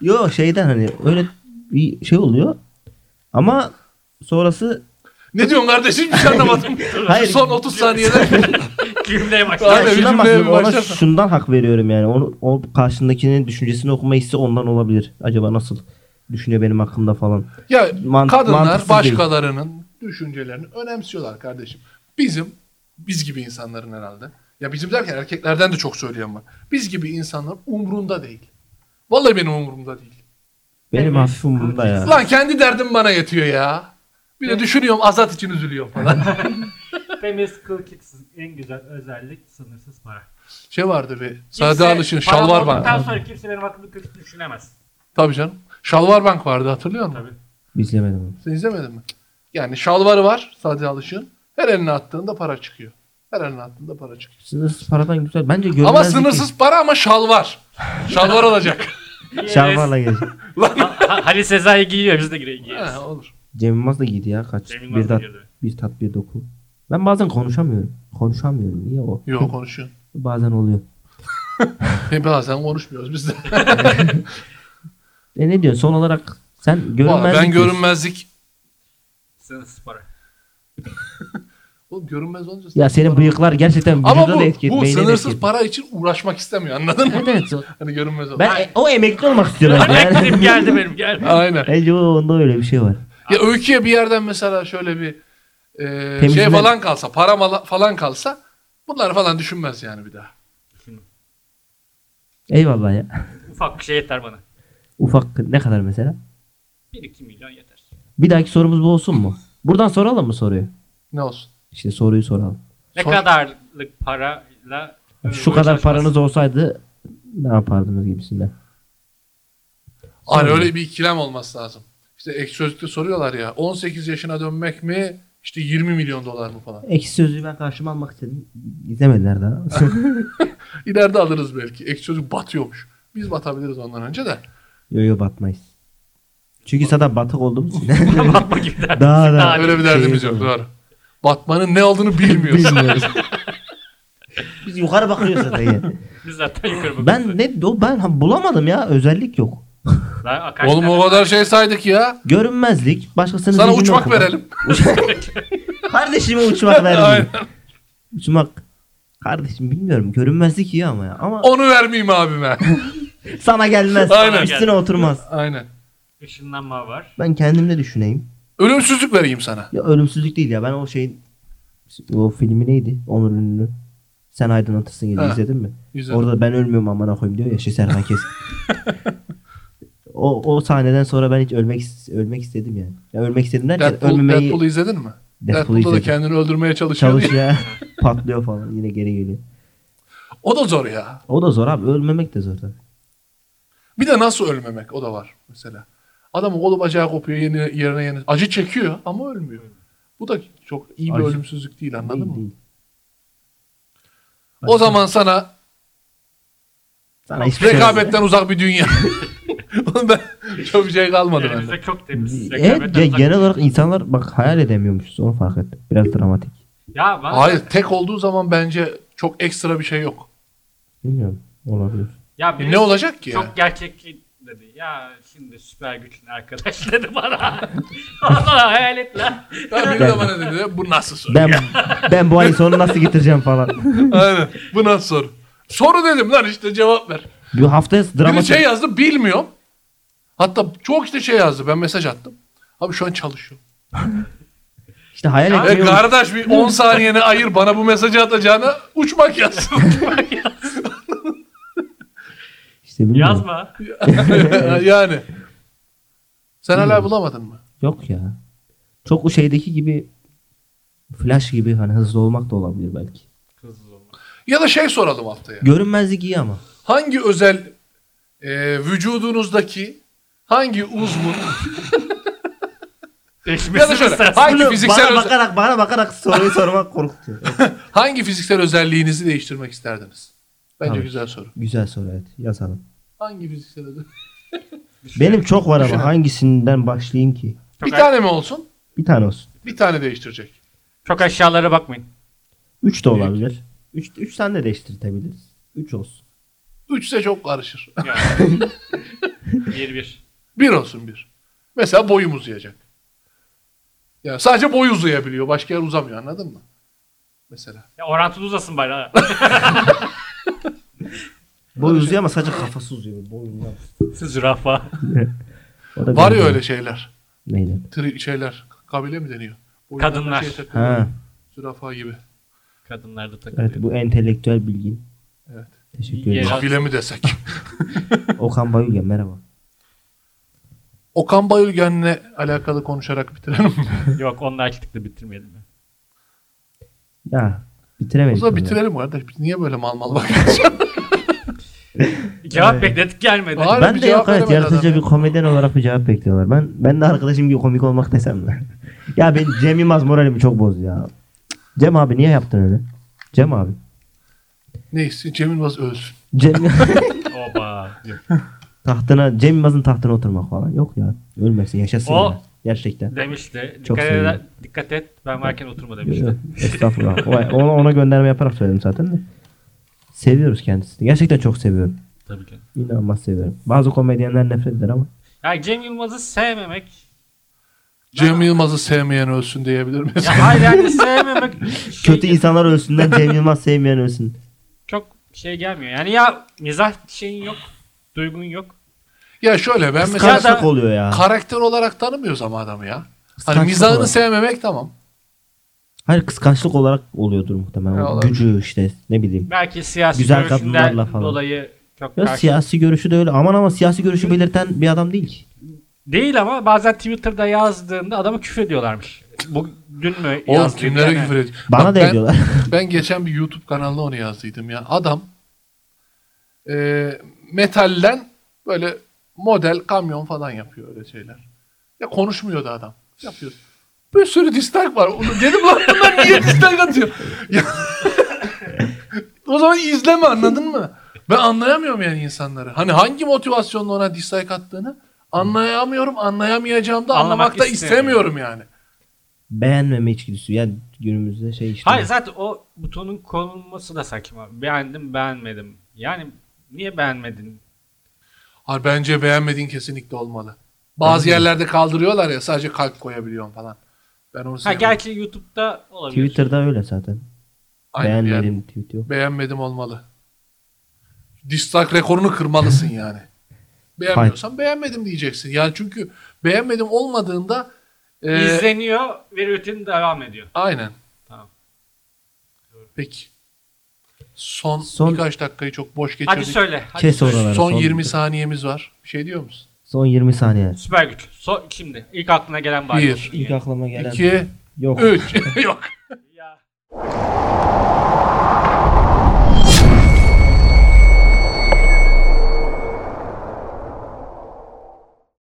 [SPEAKER 1] yo şeyden hani öyle bir şey oluyor. Ama sonrası
[SPEAKER 2] ne diyorsun kardeşim? Bir şey anlamadım.
[SPEAKER 1] Hayır.
[SPEAKER 2] Son 30 saniyede.
[SPEAKER 4] Cümleye bak.
[SPEAKER 2] Aynen, bir
[SPEAKER 1] şundan
[SPEAKER 2] cümleye
[SPEAKER 1] bahsediyorum.
[SPEAKER 2] bir
[SPEAKER 1] Ona
[SPEAKER 2] başlarsan.
[SPEAKER 1] şundan hak veriyorum yani. Onu, o karşındakinin düşüncesini okuma hissi ondan olabilir. Acaba nasıl düşünüyor benim hakkımda falan.
[SPEAKER 2] Ya
[SPEAKER 1] Mant-
[SPEAKER 2] kadınlar
[SPEAKER 1] mantıksız
[SPEAKER 2] başkalarının düşüncelerini önemsiyorlar kardeşim. Bizim, biz gibi insanların herhalde. Ya bizim derken erkeklerden de çok söyleyen var. Biz gibi insanlar umrunda değil. Vallahi benim umurumda değil.
[SPEAKER 1] Benim
[SPEAKER 3] Evet.
[SPEAKER 1] hafif umurumda ya.
[SPEAKER 2] Lan kendi derdim bana yetiyor ya. Bir de düşünüyorum azat için üzülüyorum falan.
[SPEAKER 3] Temiz kıl kitsiz en güzel özellik sınırsız para.
[SPEAKER 2] şey vardı bir.
[SPEAKER 3] Kimse
[SPEAKER 2] Sade Alış'ın
[SPEAKER 3] param
[SPEAKER 2] Şalvar Bank.
[SPEAKER 3] olduktan sonra kimse benim hakkımda kötü düşünemez.
[SPEAKER 2] Tabii canım. Şalvar Bank vardı hatırlıyor musun?
[SPEAKER 3] Tabii.
[SPEAKER 1] İzlemedim onu.
[SPEAKER 2] Sen izlemedin mi? Yani şalvarı var Sade Alış'ın. Her eline attığında para çıkıyor. Her eline attığında para çıkıyor.
[SPEAKER 1] Sınırsız paradan güzel. Bence görmezlik.
[SPEAKER 2] Ama sınırsız para ama şalvar. Şalvar alacak.
[SPEAKER 1] Şalvarla gelecek.
[SPEAKER 4] Ha- ha- Halil Sezai giyiyor biz de gire- giyiyoruz.
[SPEAKER 2] Ha, olur.
[SPEAKER 1] Cem Yılmaz da giydi ya kaç.
[SPEAKER 4] Cem
[SPEAKER 1] bir,
[SPEAKER 4] Yılmaz da
[SPEAKER 1] tat,
[SPEAKER 4] girdi.
[SPEAKER 1] bir tat bir doku. Ben bazen konuşamıyorum. Konuşamıyorum. Niye o?
[SPEAKER 2] Yok konuşuyorsun.
[SPEAKER 1] Bazen oluyor.
[SPEAKER 2] E, bazen konuşmuyoruz biz de.
[SPEAKER 1] E ne diyorsun? Son olarak sen görünmez.
[SPEAKER 2] ben görünmezlik.
[SPEAKER 4] Sınırsız para.
[SPEAKER 2] Oğlum görünmez olunca.
[SPEAKER 1] Ya senin bıyıklar gerçekten
[SPEAKER 2] Ama
[SPEAKER 1] vücuduna
[SPEAKER 2] bu,
[SPEAKER 1] da etki
[SPEAKER 2] bu
[SPEAKER 1] etmeyi
[SPEAKER 2] sınırsız para için uğraşmak istemiyor anladın mı?
[SPEAKER 1] Evet evet.
[SPEAKER 2] Hani görünmez ol.
[SPEAKER 1] Ben e- o emekli olmak istiyorum.
[SPEAKER 4] Benim
[SPEAKER 1] yani.
[SPEAKER 4] geldi benim geldi.
[SPEAKER 2] Aynen.
[SPEAKER 1] Bence o onda öyle bir şey var.
[SPEAKER 2] Ya öyküye bir yerden mesela şöyle bir e, şey
[SPEAKER 1] Temizle-
[SPEAKER 2] falan kalsa, para mala- falan kalsa bunları falan düşünmez yani bir daha.
[SPEAKER 1] Eyvallah ya.
[SPEAKER 4] Ufak bir şey yeter bana.
[SPEAKER 1] Ufak ne kadar mesela?
[SPEAKER 4] 1-2 milyon yeter.
[SPEAKER 1] Bir dahaki sorumuz bu olsun mu? Buradan soralım mı soruyu?
[SPEAKER 2] Ne olsun?
[SPEAKER 1] İşte soruyu soralım.
[SPEAKER 4] Ne
[SPEAKER 2] Son-
[SPEAKER 4] kadarlık parayla
[SPEAKER 1] Şu
[SPEAKER 4] ömrü
[SPEAKER 1] kadar
[SPEAKER 4] çalışmaz?
[SPEAKER 1] paranız olsaydı ne yapardınız gibisinden.
[SPEAKER 2] Hani
[SPEAKER 1] Sonra.
[SPEAKER 2] öyle bir ikilem olması lazım. İşte ek sözlükte soruyorlar ya 18 yaşına dönmek mi işte 20 milyon dolar mı falan.
[SPEAKER 1] Ekşi sözlüğü ben karşıma almak istedim. Gidemediler daha.
[SPEAKER 2] İleride alırız belki. Ek sözlük batıyormuş. Biz batabiliriz ondan önce de.
[SPEAKER 1] yo yo batmayız. Çünkü zaten batık olduğumuz için.
[SPEAKER 4] Bakma gibi derdim.
[SPEAKER 1] daha da.
[SPEAKER 2] Öyle bir derdimiz
[SPEAKER 1] şey
[SPEAKER 2] yok doğru. Batmanın ne olduğunu bilmiyoruz.
[SPEAKER 1] Bilmiyoruz. Biz yukarı bakıyoruz zaten. yani.
[SPEAKER 4] Biz zaten yukarı bakıyoruz.
[SPEAKER 1] ben ne o ben ha, bulamadım ya özellik yok.
[SPEAKER 4] Lan akaş-
[SPEAKER 2] Oğlum o kadar şey saydık ya.
[SPEAKER 1] Görünmezlik, başkasının
[SPEAKER 2] Sana
[SPEAKER 1] zihnini
[SPEAKER 2] uçmak
[SPEAKER 1] okumak.
[SPEAKER 2] verelim.
[SPEAKER 1] Kardeşime uçmak verelim.
[SPEAKER 2] Aynen.
[SPEAKER 1] uçmak. Kardeşim bilmiyorum görünmezlik iyi ama ya. Ama
[SPEAKER 2] Onu vermeyeyim abime.
[SPEAKER 1] sana gelmez.
[SPEAKER 2] Aynen.
[SPEAKER 1] Üstüne oturmaz.
[SPEAKER 2] Aynen.
[SPEAKER 4] Işınlanma var.
[SPEAKER 1] Ben kendimde düşüneyim.
[SPEAKER 2] Ölümsüzlük vereyim sana.
[SPEAKER 1] Ya ölümsüzlük değil ya. Ben o şeyin o filmi neydi? Onur Ünlü. Sen aydınlatırsın gece
[SPEAKER 2] Ha.
[SPEAKER 1] izledin mi?
[SPEAKER 2] Güzel.
[SPEAKER 1] Orada ben ölmüyorum amına koyayım diyor ya şey Serhan Keskin. o, o sahneden sonra ben hiç ölmek is- ölmek istedim yani. Ya ölmek istedim derken
[SPEAKER 2] Deadpool,
[SPEAKER 1] Hani ölmemeyi
[SPEAKER 2] Deadpool'u izledin mi?
[SPEAKER 1] Deadpool'u
[SPEAKER 2] Deadpool'da da
[SPEAKER 1] izledim.
[SPEAKER 2] kendini öldürmeye çalışıyor. diye.
[SPEAKER 1] çalışıyor patlıyor falan yine geri geliyor.
[SPEAKER 2] O da zor ya.
[SPEAKER 1] O da zor abi ölmemek de zor tabii.
[SPEAKER 2] Bir de nasıl ölmemek o da var mesela. Adamın kolu bacağı kopuyor yeni, yerine yeni. Acı çekiyor ama ölmüyor. Bu da çok iyi bir
[SPEAKER 1] Acı-
[SPEAKER 2] ölümsüzlük değil anladın
[SPEAKER 1] Değil,
[SPEAKER 2] mı?
[SPEAKER 1] değil.
[SPEAKER 2] O zaman sana
[SPEAKER 1] Sana hiçbir şey yok.
[SPEAKER 2] Rekabetten uzak bir dünya. Oğlum ben çok bir şey kalmadı bende.
[SPEAKER 4] Elimizde çok temiz.
[SPEAKER 1] Evet
[SPEAKER 4] rekabetten
[SPEAKER 1] ya,
[SPEAKER 4] uzak.
[SPEAKER 1] genel olarak insanlar bak hayal edemiyormuşuz onu fark ettim. Biraz dramatik.
[SPEAKER 4] Ya ben
[SPEAKER 2] Hayır tek olduğu zaman bence çok ekstra bir şey yok.
[SPEAKER 1] Bilmiyorum olabilir.
[SPEAKER 4] ya
[SPEAKER 2] E, Ne
[SPEAKER 4] birisi-
[SPEAKER 2] olacak ki ya?
[SPEAKER 4] Çok gerçekçi dedi. Ya şimdi süper güçlü arkadaş dedi bana. Allah hayal et lan.
[SPEAKER 2] Ya biri de bana dedi bu nasıl soru?
[SPEAKER 1] Ben ben bu ayın sonunu nasıl getireceğim falan.
[SPEAKER 2] Aynen bu nasıl soru? Soru dedim lan işte cevap ver.
[SPEAKER 1] Bir haftaya
[SPEAKER 2] Biri
[SPEAKER 1] dramatik.
[SPEAKER 2] şey yazdı bilmiyorum. Hatta çok işte şey yazdı ben mesaj attım. Abi şu an çalışıyorum.
[SPEAKER 1] İşte hayal
[SPEAKER 2] E
[SPEAKER 1] etmiyorum.
[SPEAKER 2] kardeş bir 10 saniyeni ayır bana bu mesajı atacağına uçmak yaz.
[SPEAKER 1] İşte bilmiyorum.
[SPEAKER 4] Yazma.
[SPEAKER 2] yani. Sen hala bulamadın mı?
[SPEAKER 1] Yok ya. Çok o şeydeki gibi flash gibi hani hızlı olmak da olabilir belki.
[SPEAKER 4] Hızlı olmak.
[SPEAKER 2] Ya da şey soralım haftaya.
[SPEAKER 1] Görünmezlik iyi ama.
[SPEAKER 2] Hangi özel e, vücudunuzdaki hangi uzvun Ya da
[SPEAKER 3] Değişmesi
[SPEAKER 2] şöyle.
[SPEAKER 3] mesela.
[SPEAKER 2] Hangi
[SPEAKER 1] Bunu
[SPEAKER 2] fiziksel,
[SPEAKER 1] bana
[SPEAKER 2] öze-
[SPEAKER 1] bakarak bana bakarak soruyu sormak korkutuyor. Evet,
[SPEAKER 2] hangi fiziksel özelliğinizi değiştirmek isterdiniz? Bence
[SPEAKER 1] Tabii.
[SPEAKER 2] güzel soru.
[SPEAKER 1] Güzel soru evet. Yazalım.
[SPEAKER 2] Hangi fiziksel özellik?
[SPEAKER 1] Benim çok var
[SPEAKER 2] Düşünün.
[SPEAKER 1] ama hangisinden başlayayım ki?
[SPEAKER 2] Bir
[SPEAKER 3] Çok, a-
[SPEAKER 2] tane mi olsun?
[SPEAKER 1] Bir tane olsun.
[SPEAKER 2] Bir tane değiştirecek.
[SPEAKER 3] çok aşağılara bakmayın.
[SPEAKER 1] Üç de olabilir. Üç, üç tane de değiştirtebiliriz. Üç olsun.
[SPEAKER 2] Üçse çok karışır.
[SPEAKER 3] Bir bir.
[SPEAKER 2] Bir olsun bir. Mesela boyum uzayacak. Yani sadece boy uzayabiliyor. Başka yer uzamıyor anladın mı? Mesela.
[SPEAKER 3] Ya orantılı uzasın bari ha.
[SPEAKER 1] Boy
[SPEAKER 2] şey
[SPEAKER 1] uzuyor ama sadece kafası uzuyor. Boy uzuyor.
[SPEAKER 3] Zürafa.
[SPEAKER 1] O da
[SPEAKER 2] Var ya
[SPEAKER 1] benziyor.
[SPEAKER 2] öyle şeyler.
[SPEAKER 1] Neydi?
[SPEAKER 2] Tri şeyler. Kabile mi deniyor? Boyunlarına
[SPEAKER 3] Kadınlar.
[SPEAKER 2] Şey takılıyor.
[SPEAKER 1] Ha,
[SPEAKER 2] Zürafa gibi.
[SPEAKER 3] Kadınlarda takılıyor.
[SPEAKER 1] evet bu entelektüel bilgin.
[SPEAKER 2] Evet.
[SPEAKER 1] Teşekkür ederim.
[SPEAKER 3] Yerel-
[SPEAKER 2] Kabile mi desek?
[SPEAKER 1] Okan Bayülgen merhaba.
[SPEAKER 2] Okan Bayülgen'le alakalı konuşarak bitirelim mi?
[SPEAKER 3] Yok onunla açtıkla bitirmeyelim. ya.
[SPEAKER 1] Ya
[SPEAKER 2] o
[SPEAKER 1] bitiremedik.
[SPEAKER 2] zaman
[SPEAKER 1] bunu.
[SPEAKER 2] bitirelim kardeş. Niye böyle mal mal bakıyorsun?
[SPEAKER 3] Cevap bekledik gelmedi.
[SPEAKER 2] Var. Harbi
[SPEAKER 1] Ben de yok evet
[SPEAKER 2] cevap veremedi adam ya.
[SPEAKER 1] yaratıcı bir komedyen olarak bir cevap bekliyorlar. Ben ben de arkadaşım gibi komik olmak desem mi? ya ben Cem Yılmaz moralimi çok bozdu ya. Cem abi niye yaptın öyle? Cem abi.
[SPEAKER 2] Neyse Cem Yılmaz ölsün.
[SPEAKER 1] Cem
[SPEAKER 3] Oba.
[SPEAKER 1] tahtına Cem Yılmaz'ın tahtına oturmak falan. Yok ya. Ölmesin yaşasın
[SPEAKER 3] O-
[SPEAKER 1] ya. Gerçekten.
[SPEAKER 3] Demişti.
[SPEAKER 1] Çok
[SPEAKER 3] Dikkat,
[SPEAKER 1] sevindim.
[SPEAKER 3] eder- dikkat et. Ben varken oturma
[SPEAKER 1] Yo,
[SPEAKER 3] demişti.
[SPEAKER 1] Estağfurullah. O- Ona, ona gönderme yaparak söyledim zaten de. Seviyoruz kendisini. Gerçekten çok seviyorum.
[SPEAKER 3] Tabii ki.
[SPEAKER 1] İnanılmaz seviyorum. Bazı komedyenler nefret eder ama.
[SPEAKER 3] Ya Cem Yılmaz'ı sevmemek.
[SPEAKER 2] Cem Yılmaz'ı sevmeyen ölsün diyebilir miyiz?
[SPEAKER 3] Ya hayır yani sevmemek. şey-
[SPEAKER 1] Kötü insanlar ölsünden Cem Yılmaz sevmeyen ölsün.
[SPEAKER 3] Çok şey gelmiyor. Yani ya mizah şeyin yok. Duygun yok.
[SPEAKER 2] ya şöyle ben mesela
[SPEAKER 3] da-
[SPEAKER 1] Kıskançlık oluyor ya.
[SPEAKER 2] karakter olarak tanımıyoruz ama adamı ya. Hani
[SPEAKER 1] Kıskançlık
[SPEAKER 2] mizahını
[SPEAKER 1] olarak.
[SPEAKER 2] sevmemek tamam.
[SPEAKER 1] Hayır kıskançlık olarak oluyordur muhtemelen.
[SPEAKER 2] Ya
[SPEAKER 1] O
[SPEAKER 2] olabilir.
[SPEAKER 1] Gücü işte ne bileyim.
[SPEAKER 3] Belki siyasi
[SPEAKER 1] Güzel
[SPEAKER 3] görüşünden
[SPEAKER 1] kadınlarla falan.
[SPEAKER 3] dolayı çok
[SPEAKER 1] Ya
[SPEAKER 3] karşı-
[SPEAKER 1] siyasi görüşü de öyle. Aman ama siyasi görüşü belirten bir adam değil ki.
[SPEAKER 3] Değil ama bazen Twitter'da yazdığında adamı küfür ediyorlarmış. Bu dün mü
[SPEAKER 2] Oğlum
[SPEAKER 3] yazdın?
[SPEAKER 2] kimlere
[SPEAKER 3] Yani
[SPEAKER 2] küfür ediyor?
[SPEAKER 1] Bana
[SPEAKER 2] Bak
[SPEAKER 1] da
[SPEAKER 2] ben-
[SPEAKER 1] ediyorlar.
[SPEAKER 2] Ben geçen bir YouTube kanalına onu yazdıydım ya. Adam e, metalden böyle model kamyon falan yapıyor öyle şeyler. Ya konuşmuyor da adam. Yapıyor. Bir sürü dislike var. Onu dedim lan bunlar niye dislike atıyor? Ya- o zaman izleme anladın mı? Ben anlayamıyorum yani insanları. Hani hangi motivasyonla ona dislike attığını anlayamıyorum. Anlayamayacağım da
[SPEAKER 3] Anlamak
[SPEAKER 2] anlamak da
[SPEAKER 3] istemiyorum.
[SPEAKER 2] istemiyorum yani.
[SPEAKER 1] Beğenmeme içgüdüsü. Yani günümüzde şey işte.
[SPEAKER 3] Hayır zaten o butonun konulması da saçma. Beğendim beğenmedim. Yani niye beğenmedin?
[SPEAKER 2] Hayır, bence beğenmediğin kesinlikle olmalı. Bazı yerlerde kaldırıyorlar ya sadece kalp koyabiliyorsun falan. Ben onu
[SPEAKER 3] Ha
[SPEAKER 2] sevmem.
[SPEAKER 3] gerçi YouTube'da olabilir.
[SPEAKER 1] Twitter'da öyle zaten.
[SPEAKER 2] Aynı bir yer.
[SPEAKER 1] Beğenmedim tweet yok.
[SPEAKER 2] Beğenmedim olmalı. Dislike rekorunu kırmalısın yani. Beğenmiyorsan beğenmedim diyeceksin. Yani çünkü beğenmedim olmadığında e,
[SPEAKER 3] İzleniyor ve rutin devam ediyor.
[SPEAKER 2] aynen.
[SPEAKER 3] Tamam.
[SPEAKER 2] Peki. Son,
[SPEAKER 1] Son-
[SPEAKER 2] birkaç dakikayı çok boş
[SPEAKER 3] Hadi
[SPEAKER 2] geçirdik.
[SPEAKER 3] söyle. Hadi
[SPEAKER 1] Kes
[SPEAKER 3] söyle.
[SPEAKER 1] oraları.
[SPEAKER 2] Son
[SPEAKER 1] son
[SPEAKER 2] 20
[SPEAKER 1] dakika.
[SPEAKER 2] saniyemiz var. Bir şey diyor musun?
[SPEAKER 1] Son 20 saniye.
[SPEAKER 3] Süper güç. So şimdi ilk aklına gelen bari.
[SPEAKER 2] Bir.
[SPEAKER 3] olsun
[SPEAKER 1] İlk
[SPEAKER 3] yani.
[SPEAKER 1] aklıma gelen.
[SPEAKER 2] 2
[SPEAKER 1] Yok.
[SPEAKER 2] 3 Yok.
[SPEAKER 3] Ya.